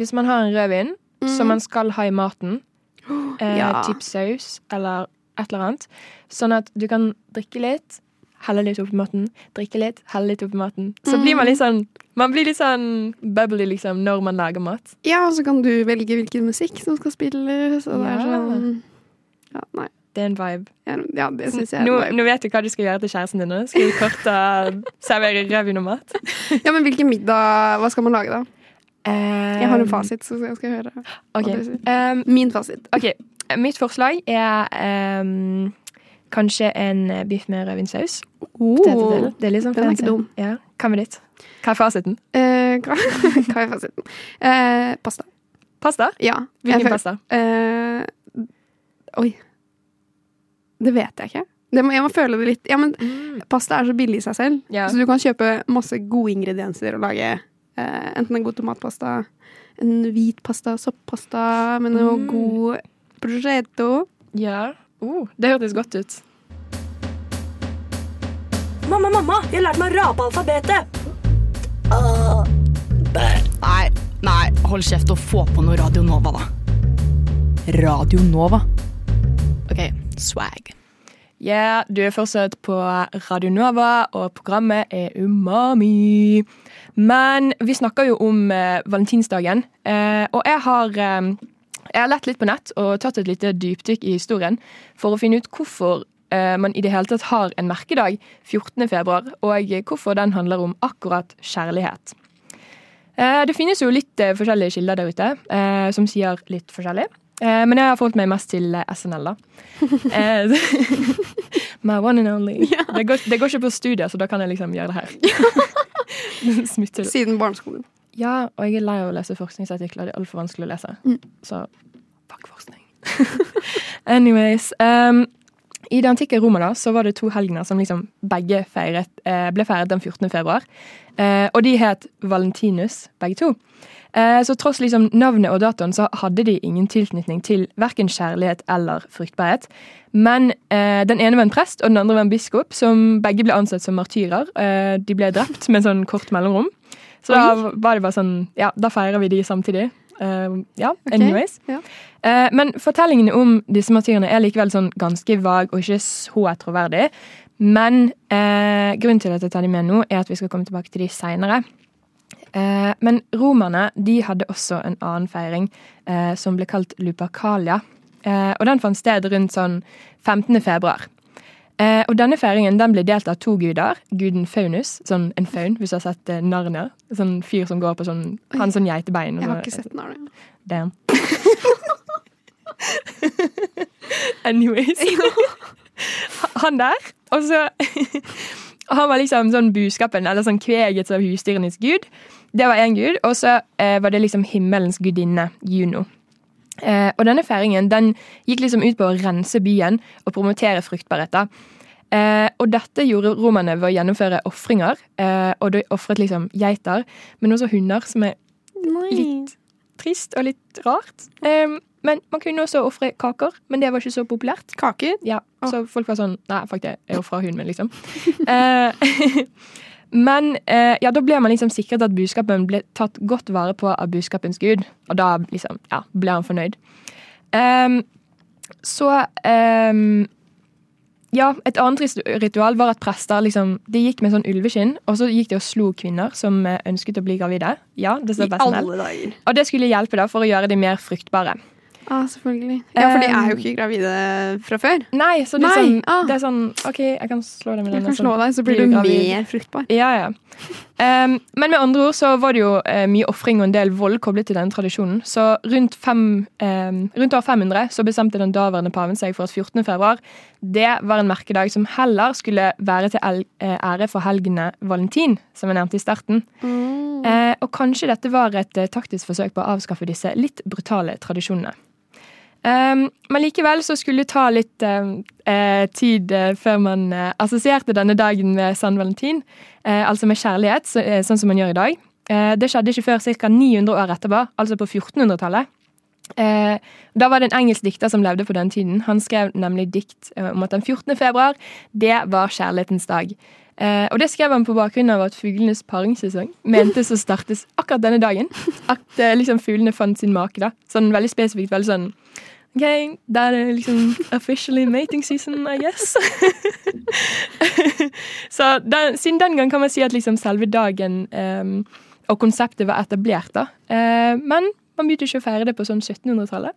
Speaker 2: hvis man har en rødvin som man skal ha i maten, eh,
Speaker 3: Mm. ja.
Speaker 2: typ saus eller et eller annet, sånn at du kan drikke litt, helle litt oppi maten, drikke litt, helle litt oppi maten. Så blir man
Speaker 3: Mm.
Speaker 2: litt sånn man blir litt sånn bubbly liksom, når man lager mat.
Speaker 3: Ja, og så kan du velge hvilken musikk som skal spilles, og det er
Speaker 2: Ja.
Speaker 3: sånn Ja, nei.
Speaker 2: Det er en vibe.
Speaker 3: Ja, det syns jeg er
Speaker 2: Nå,
Speaker 3: en vibe.
Speaker 2: nå vet du hva du skal gjøre til kjæresten din. nå. Skal du korte servere rødvin og mat?
Speaker 3: Ja, men hvilken middag Hva skal man lage, da? Jeg har en fasit, så jeg skal høre.
Speaker 2: Um, Ehm, Ok.
Speaker 3: hva du
Speaker 2: Um,
Speaker 3: Min fasit.
Speaker 2: Ok, mitt forslag er ehm, kanskje en biff med rødvinsaus.
Speaker 3: Oh.
Speaker 2: Det er litt sånn
Speaker 3: den er ikke
Speaker 2: fancy.
Speaker 3: dum.
Speaker 2: Ja. Hva med ditt? Hva er fasiten?
Speaker 3: Eh, hva, hva er fasiten? Eh, pasta.
Speaker 2: Pasta?
Speaker 3: Ja. jeg
Speaker 2: Hvilken
Speaker 3: føler-
Speaker 2: pasta?
Speaker 3: Eh, oi. Det vet jeg ikke. Det må, jeg må føle det litt. Ja, men pasta er så billig i seg selv,
Speaker 2: Mm. Ja.
Speaker 3: så du kan kjøpe masse gode ingredienser og lage eh, enten en god tomatpasta, en hvit pasta, soppasta med noe
Speaker 2: Mm.
Speaker 3: god prosciutto.
Speaker 2: Ja. Oh, det hørtes godt ut.
Speaker 6: Mamma, mamma, jeg har lært meg å rape alfabetet!
Speaker 5: Nei, nei, hold kjeft og få på noe Radio Nova, da. Radio Nova. OK, swag.
Speaker 2: Ja, du er fortsatt på Radio Nova, og programmet er Umami. Men vi snakker jo om eh, valentinsdagen, eh, og jeg har, eh, jeg har lett litt på nett og tatt et lite dypdykk i historien for å finne ut hvorfor eh, man i det hele tatt har en merkedag 14. februar, og hvorfor den handler om akkurat kjærlighet. Eh, Det finnes jo litt eh, forskjellige kilder der ute eh, som sier litt forskjellig. Eh, Men jeg har forholdt meg mest til eh, SNL, da. Eh, My one and only. Det, går, det går ikke på studier, så da kan jeg liksom gjøre det her. Smutter det.
Speaker 3: Siden barneskolen.
Speaker 2: Ja, og jeg er lei av å lese forskningsartikler. Det er altfor vanskelig å lese. Så fuck forskning. Anyways. ehm, I det antikke Roma da, så var det to helgener som liksom begge feiret, eh, ble feiret den 14. februar. Eh, og de het Valentinus, begge to. Eh, så tross liksom navnet og datoen så hadde de ingen tilknytning til verken kjærlighet eller fruktbarhet. Men eh, den ene var en prest, og den andre var en biskop, som begge ble ansett som martyrer. Eh, de ble drept med sånn kort mellomrom. Så da var det bare sånn Ja, da feirer vi de samtidig. Eh, ja, anyways.
Speaker 3: ja.
Speaker 2: Eh, men fortellingene om disse martyrene er likevel sånn ganske vag og ikke så troverdig. Men eh, grunnen til at jeg tar de med nå, er at vi skal komme tilbake til de seinere. Eh, men romerne de hadde også en annen feiring eh, som ble kalt Lupercalia. Eh, og den fant sted rundt sånn 15. februar. Eh, og denne feiringen den ble delt av to guder. Guden Faunus, sånn en faun, hvis du har sett eh, Narnia. Sånn fyr som går på sånn Han har sånn geitebein. og
Speaker 3: Jeg har
Speaker 2: så-
Speaker 3: ikke sett den. Arne.
Speaker 2: Damn. Anyways. Han der. Og så Han var liksom sånn buskapen, eller sånn kveget av husdyrenes gud. Det var én gud. Og så eh, var det liksom himmelens gudinne, Juno. Eh, og denne feiringen den gikk liksom ut på å rense byen og promotere fruktbarhet. da. Eh, og dette gjorde romerne ved å gjennomføre ofringer. Eh, og de ofret liksom geiter, men også hunder, som er litt trist og litt rart. Ehm, men man kunne også ofre kaker, men det var ikke så populært.
Speaker 3: Kaker?
Speaker 2: Ja, Så folk var sånn Nei, fuck det, jeg ofra hunden min, liksom. Eh, men eh, ja, da ble man liksom sikret at budskapen ble tatt godt vare på av budskapens gud. Og da liksom, ja, ble han fornøyd. Ehm, så ehm, ja, Et annet ris- ritual var at prester liksom, de gikk med sånn ulveskinn, og så gikk de og slo kvinner som eh, ønsket å bli gravide. Ja, det
Speaker 3: I
Speaker 2: står best
Speaker 3: alle dager.
Speaker 2: og det skulle hjelpe da for å gjøre de mer fruktbare.
Speaker 3: Ah, selvfølgelig. Ja, for de er jo ikke gravide fra før.
Speaker 2: Nei, så det er,
Speaker 3: Nei,
Speaker 2: sånn,
Speaker 3: ah.
Speaker 2: det er sånn OK, jeg kan slå deg med
Speaker 3: Jeg
Speaker 2: denne.
Speaker 3: kan slå
Speaker 2: sånn.
Speaker 3: deg, så blir du
Speaker 2: blir gravid.
Speaker 3: mer fruktbar.
Speaker 2: Ja, ja. Ehm, men med andre ord så var det jo eh, mye ofring og en del vold koblet til denne tradisjonen. Så rundt, fem, ehm, rundt år 500 så bestemte den daværende paven seg for at 14. februar det var en merkedag som heller skulle være til el- eh, ære for helgene Valentin, som jeg nevnte i starten. Eh, og kanskje dette var et eh, taktisk forsøk på å avskaffe disse litt brutale tradisjonene. Ehm, men likevel så skulle det ta litt eh, eh, tid eh, før man eh, assosierte denne dagen med San Valentin, eh, altså med kjærlighet, så, eh, sånn som man gjør i dag. Eh, det skjedde ikke før ca. 900 år etterpå, altså på 1400-tallet. Eh, da var det en engelsk dikter som levde på den tiden. Han skrev nemlig dikt eh, om at den 14. februar, det var kjærlighetens dag. Eh, og det skrev han på bakgrunn av at fuglenes paringssesong mentes å startes akkurat denne dagen. At eh, liksom fuglene fant sin make, da. Sånn veldig spesifikt, veldig sånn OK, da er det liksom officially mating season, I guess. Så den, siden den gang kan man si at liksom selve dagen eh, og konseptet var etablert, da. Eh, men man begynte ikke å feire det på sånn 1700-tallet.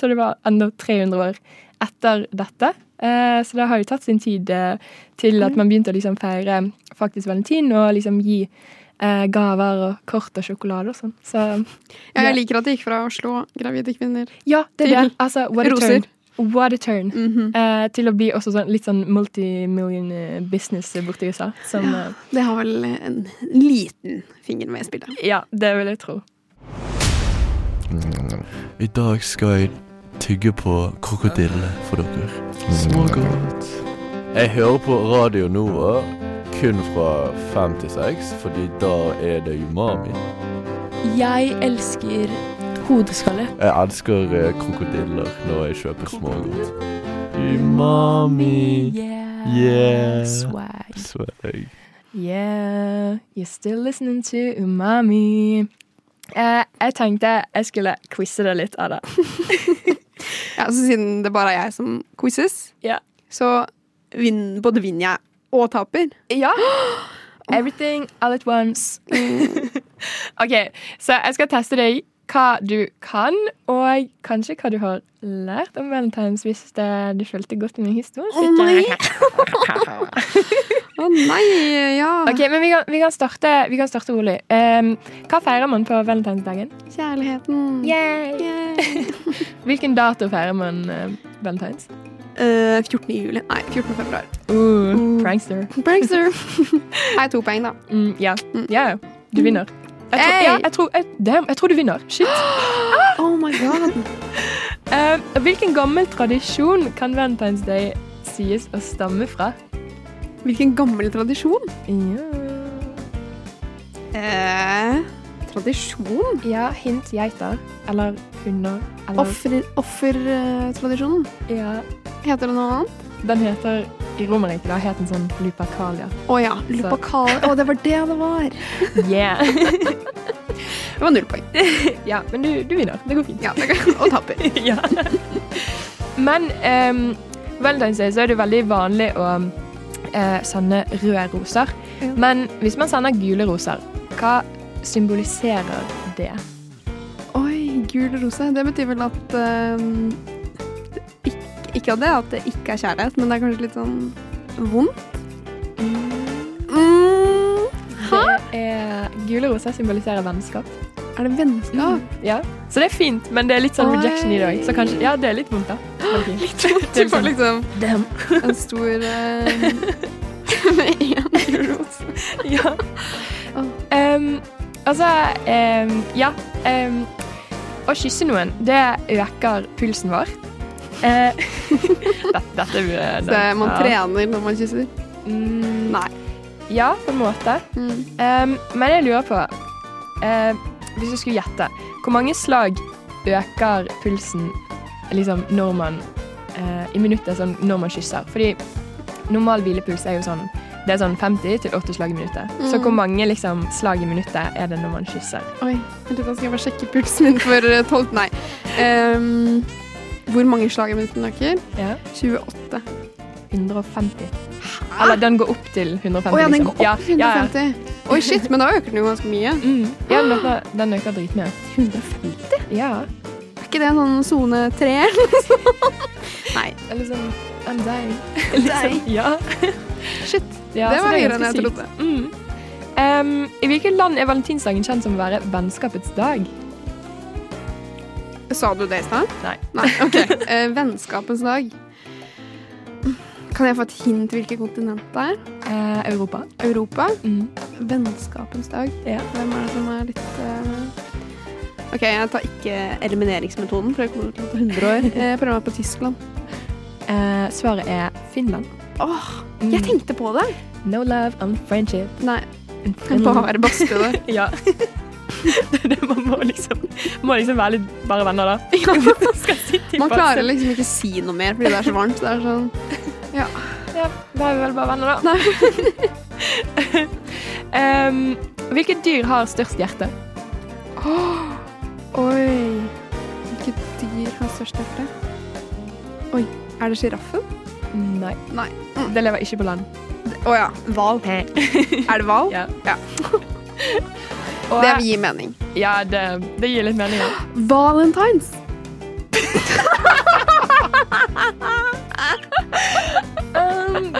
Speaker 2: Så det var enda 300 år etter dette. Eh, så det har jo tatt sin tid eh, til at man begynte å liksom feire faktisk valentin og liksom gi eh, gaver og kort og sjokolade og sånn. Så
Speaker 3: Ja, jeg liker at det gikk fra å slå gravide kvinner
Speaker 2: ja, det er det.
Speaker 3: Til
Speaker 2: Altså, what a
Speaker 3: roser.
Speaker 2: turn. What a turn.
Speaker 3: Mhm.
Speaker 2: Eh, til å bli også sånn, litt sånn multimillion eh, business borti USA. Som, eh,
Speaker 3: Det har vel en liten finger med i spillet.
Speaker 2: ja, det vil jeg tro.
Speaker 7: I dag skal jeg tygge på krokodille for dere. Smågodt.
Speaker 8: Jeg hører på Radio Nova kun fra fem til seks, fordi da er det umami.
Speaker 4: Jeg elsker hodeskalle.
Speaker 8: Jeg elsker eh, krokodiller når jeg kjøper smågodt. Umami. Yeah.
Speaker 4: Swag.
Speaker 8: Swag.
Speaker 2: Yeah, you're still listening to umami. Eh, jeg tenkte jeg skulle quize deg litt av det.
Speaker 3: Ja, så siden det bare er jeg som quizzes,
Speaker 2: Ja.
Speaker 3: så vinn, både vinner jeg og taper.
Speaker 2: Ja. Everything all at once. OK, så jeg skal teste deg hva du kan, og kanskje hva du har lært om valentines hvis det, du fulgte godt med i historien.
Speaker 3: Å nei, ja.
Speaker 2: Ok, men vi kan, vi kan starte, vi kan starte rolig. Ehm, hva feirer man på valentinsdagen?
Speaker 3: Kjærligheten.
Speaker 2: Yay!
Speaker 3: Yay.
Speaker 2: Hvilken dato feirer man eh, valentines?
Speaker 3: Eh, 14. juli. Nei, 14. februar.
Speaker 2: Uh, prankster.
Speaker 3: Breakthrough. Nei, to poeng, da.
Speaker 2: Mm, ja. ja, ja. Du vinner. Jeg tror,
Speaker 3: Hey!
Speaker 2: ja, jeg, tror, jeg, damn, jeg tror du vinner. Shit.
Speaker 3: Oh my god.
Speaker 2: Ehm, hvilken gammel tradisjon kan Valentine's Day sies å stamme fra?
Speaker 3: Hvilken gammel tradisjon.
Speaker 2: Ja,
Speaker 3: Eh, tradisjon?
Speaker 2: ja hint geiter. Eller hunder. Eller,
Speaker 3: Offer- Offertradisjonen.
Speaker 2: Ja.
Speaker 3: Heter det noe annet?
Speaker 2: Den heter i Romerriket da, het den sånn Lupercalia.
Speaker 3: Å ja. Lupakal. Å, det var det det var.
Speaker 2: Yeah.
Speaker 3: Det var null poeng.
Speaker 2: ja, men du, du vinner. Det går fint.
Speaker 3: Ja, det kan, og taper.
Speaker 2: ja. Men um, Valentine's Day så er det veldig vanlig å eh, sende røde roser.
Speaker 3: Ja.
Speaker 2: Men hvis man sender gule roser, hva symboliserer det?
Speaker 3: Oi, gul rose. Det betyr vel at ehm, ikke, ikke av det at det ikke er kjærlighet, men det er kanskje litt sånn vondt. Mm.
Speaker 2: Det er, gule roser symboliserer vennskap.
Speaker 3: Er det vennskap?
Speaker 2: Ja. Så det er fint, men det er litt sånn rejection i det òg. Så kanskje, ja, det er litt vondt, da. Men fint.
Speaker 3: Du får liksom
Speaker 2: Damn.
Speaker 3: en stor ehm, Med én gul rose.
Speaker 2: ja. Em, altså em, Ja. em, å kysse noen, det øker pulsen vår. Eh, dette, dette burde
Speaker 3: Så man
Speaker 2: ja.
Speaker 3: trener når man kysser.
Speaker 2: Mm,
Speaker 3: Nei.
Speaker 2: Ja, på en måte.
Speaker 3: Mm.
Speaker 2: Em, men jeg lurer på eh, Hvis du skulle gjette, hvor mange slag øker pulsen liksom, når man eh, I minuttet sånn når man kysser? Fordi normal hvilepuls er jo sånn det er sånn 50 til 80 slag i minuttet. Så
Speaker 3: Mm.
Speaker 2: hvor mange liksom, slag i minuttet er det når man kysser?
Speaker 3: Oi, vent litt, da skal jeg bare sjekke pulsen min for eh, tolv Nei. Ehm, hvor mange slag i minuttet øker?
Speaker 2: Ja.
Speaker 3: 28.
Speaker 2: 150. Eller den går opp til 150.
Speaker 3: Å ja, den
Speaker 2: liksom.
Speaker 3: går opp til
Speaker 2: Ja, ja,
Speaker 3: 150. Oi, shit, men da øker den jo ganske
Speaker 2: ja.
Speaker 3: mye.
Speaker 2: Mm. ja den, øker, den øker dritmye. 150? Ja.
Speaker 3: Er ikke det sånn sone tre?
Speaker 2: Eller sånn I'm dying. Liksom,
Speaker 3: Dying.
Speaker 2: ja.
Speaker 3: Shit.
Speaker 2: Ja,
Speaker 3: det
Speaker 2: så
Speaker 3: var
Speaker 2: er
Speaker 3: høyere enn
Speaker 2: ganske
Speaker 3: jeg
Speaker 2: sykt.
Speaker 3: trodde.
Speaker 2: Mm. Em, I hvilket land er valentinsdagen kjent som å være vennskapets dag?
Speaker 3: Sa du det i stad?
Speaker 2: Nei.
Speaker 3: Nei, ok. Eh, vennskapens dag. Kan jeg få et hint hvilket kontinent det er?
Speaker 2: Eh, Europa.
Speaker 3: Europa?
Speaker 2: Mm.
Speaker 3: Vennskapens dag?
Speaker 2: Ja.
Speaker 3: Hvem er det som er litt eh, OK, jeg tar ikke elimineringsmetoden, for jeg kommer til å ta 100 år. Jeg prøver meg på Tyskland.
Speaker 2: Eh, svaret er Finland.
Speaker 3: Åh,
Speaker 2: Mm.
Speaker 3: jeg tenkte på det!
Speaker 2: No love and friendship.
Speaker 3: Nei,
Speaker 2: in Finland.
Speaker 3: bare badstue der.
Speaker 2: Ja. det, det, man må liksom, må liksom være litt bare venner, da. Skal sitte i
Speaker 3: Man
Speaker 2: badstue.
Speaker 3: klarer liksom ikke si noe mer fordi det er så varmt. Det er sånn
Speaker 2: Ja, da er vi vel bare venner, da. Em, hvilket dyr har størst hjerte?
Speaker 3: Oi. Hvilket dyr har størst hjerte? Oi, er det sjiraffen?
Speaker 2: Nei. Mm.
Speaker 3: Nei.
Speaker 2: Det lever ikke på land.
Speaker 3: Å ja. Hval. Er det hval?
Speaker 2: Ja.
Speaker 3: Ja.
Speaker 2: Og,
Speaker 3: Det gir mening.
Speaker 2: ja, det, det gir litt mening. Ja.
Speaker 3: Valentines.
Speaker 2: Um,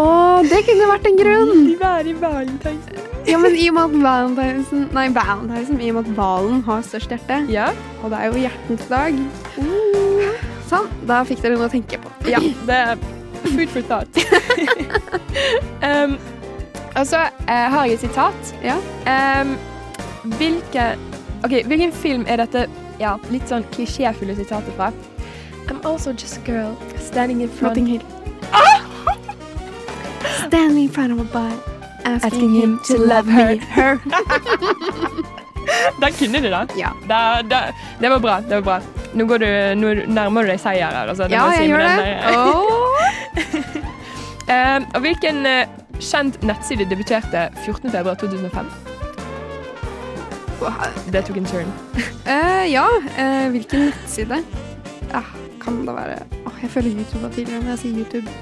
Speaker 3: Å, det kunne vært en grunn.
Speaker 2: Være valentines.
Speaker 3: Ja, men i og med at valentinesen Nei, valentinesen, i og med at hvalen har størst hjerte,
Speaker 2: Ja.
Speaker 3: og det er jo hjertens dag Sånn. Da fikk dere noe å tenke på.
Speaker 2: ja, det er food for thought. um, og så eh, har jeg et sitat.
Speaker 3: Ja.
Speaker 2: Um, hvilke, ok, hvilken film er dette ja, litt sånn klisjéfulle sitatet fra? I'm also just a girl standing in front
Speaker 3: Notting Hill. Standing in front of a bar, asking, him to love her.
Speaker 2: Den kunne du, da.
Speaker 3: Ja.
Speaker 2: Da, da. Det var bra. det var bra. Nå, går du, nå nærmer du deg seier her. Altså. Det
Speaker 3: Ja,
Speaker 2: må si med
Speaker 3: jeg gjør
Speaker 2: den
Speaker 3: det.
Speaker 2: der.
Speaker 3: Åh.
Speaker 2: Eh, og hvilken eh, kjent nettside debuterte 14.2.2005? Det tok en turn.
Speaker 3: Eh, ja, eh, hvilken nettside? Ah, kan det være Åh, Jeg føler YouTube var tidligere, men jeg sier YouTube.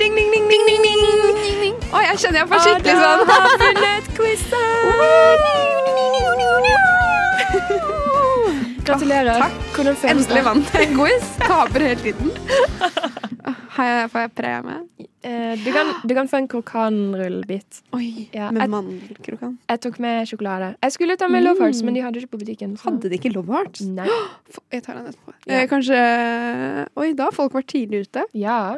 Speaker 2: Ding, ding, ding, ding, ding, ding.
Speaker 3: Oi, jeg kjenner jeg får skikkelig
Speaker 2: Adam
Speaker 3: sånn
Speaker 2: har vunnet quizen! Gratulerer. Takk. Hvordan føles
Speaker 3: Endelig
Speaker 2: det?
Speaker 3: vant jeg en quiz. Taper hele tiden. Åh, Har jeg, får jeg premie?
Speaker 2: Eh, du, kan, du kan få en krokanrullebit.
Speaker 3: Oi,
Speaker 2: Ja,
Speaker 3: med
Speaker 2: jeg-
Speaker 3: mandelkrokan.
Speaker 2: Jeg tok med sjokolade. Jeg skulle ta med Love Hearts, men de Mm. hadde ikke på butikken. så-
Speaker 3: de ikke Love Hearts?
Speaker 2: Nei.
Speaker 3: Jeg tar den etterpå.
Speaker 2: Ja.
Speaker 3: Eh, kanskje Oi, da har folk vært tidlig ute.
Speaker 2: Ja.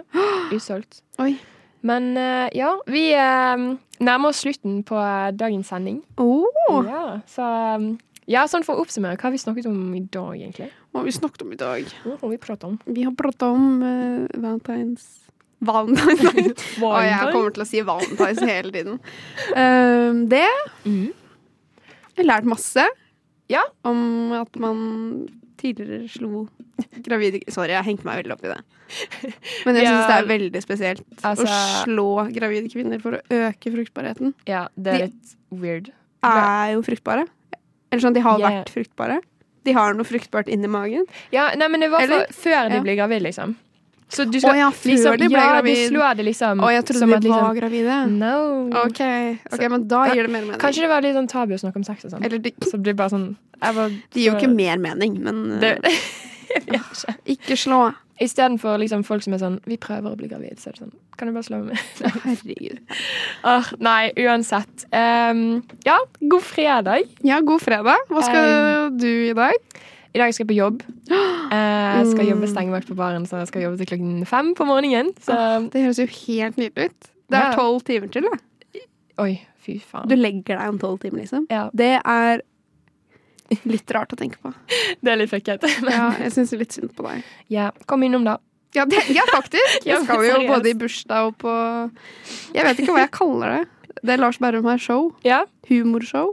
Speaker 2: Usolgt.
Speaker 3: Oi.
Speaker 2: Men eh, ja, vi eh, nærmer oss slutten på eh, dagens sending.
Speaker 3: Oh,
Speaker 2: Ja, så um, ja, sånn for å oppsummere, hva har vi snakket om i dag, egentlig?
Speaker 3: hva har vi snakket om i dag?
Speaker 2: Hva har vi pratet om?
Speaker 3: Vi har pratet om eh, Valentine's Valentine's Day. Å, jeg kommer til å si valentines hele tiden. Ehm, det
Speaker 2: Mhm.
Speaker 3: Jeg har lært masse
Speaker 2: Ja.
Speaker 3: om at man tidligere slo gravide Sorry, jeg hengte meg veldig opp i det. Men jeg
Speaker 2: Ja.
Speaker 3: syns det er veldig spesielt
Speaker 2: Altså-
Speaker 3: å slå gravide kvinner for å øke fruktbarheten.
Speaker 2: Ja, det er litt weird.
Speaker 3: Er jo fruktbare. Eller sånn, de har
Speaker 2: Ja.
Speaker 3: vært fruktbare. De har noe fruktbart inni magen.
Speaker 2: Ja, nei, men det var
Speaker 3: Eller-
Speaker 2: for, før de
Speaker 3: Ja.
Speaker 2: blir gravid, liksom. Så du
Speaker 3: Å ja, før
Speaker 2: liksom,
Speaker 3: de ble
Speaker 2: ja,
Speaker 3: gravid.
Speaker 2: du slår det liksom
Speaker 3: Å, jeg trodde
Speaker 2: som
Speaker 3: de
Speaker 2: at
Speaker 3: var
Speaker 2: liksom
Speaker 3: gravide.
Speaker 2: No.
Speaker 3: OK, ok, men da gir det mer mening.
Speaker 2: Kanskje det var litt sånn tabu å snakke om sex og sånn.
Speaker 3: Eller det
Speaker 2: Så det blir bare sånn jeg var,
Speaker 3: det gir jo ikke mer mening, men
Speaker 2: det,
Speaker 3: eh, ikke slå.
Speaker 2: Istedenfor liksom folk som er sånn Vi prøver å bli gravid, så er det sånn Kan du bare slå meg?
Speaker 3: Herregud.
Speaker 2: Åh, nei, uansett. Um, ja, god fredag.
Speaker 3: Ja, god fredag. Hva skal du i dag?
Speaker 2: I dag skal jeg på jobb. Eh, Jeg skal
Speaker 3: Mm.
Speaker 2: jobbe stengevakt på baren, så jeg skal jobbe til klokken fem på morgenen. Så
Speaker 3: Det høres jo helt nydelig ut. Det
Speaker 2: Ja.
Speaker 3: er tolv timer til, da.
Speaker 2: Oi, fy faen.
Speaker 3: Du legger deg om tolv timer, liksom.
Speaker 2: Ja.
Speaker 3: Det er litt rart å tenke på.
Speaker 2: Det er litt fucket. Men
Speaker 3: Ja, jeg syns litt synd på deg.
Speaker 2: ja, kom innom, da.
Speaker 3: Ja, det, ja faktisk.
Speaker 2: Ja,
Speaker 3: Jeg skal jo
Speaker 2: seriøst.
Speaker 3: både i bursdag og på Jeg vet ikke hva jeg kaller det. Det er Lars Berrum her. Show.
Speaker 2: Ja,
Speaker 3: Humorshow.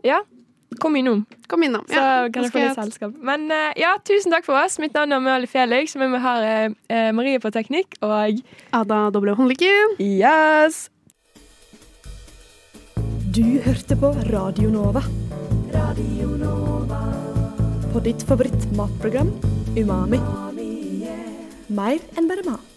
Speaker 2: kom innom,
Speaker 3: Kom innom.
Speaker 2: så kan jeg
Speaker 3: nå skal
Speaker 2: få litt selskap. Men eh, ja, tusen takk for oss. Mitt navn er Mali Felix, og med meg har jeg eh, Marie på teknikk, og
Speaker 3: Ada Doble Håndlykken.
Speaker 2: yes!
Speaker 6: Du hørte på Radio Nova. Radio Nova. På ditt favorittmatprogram Umami. Mer enn bare mat.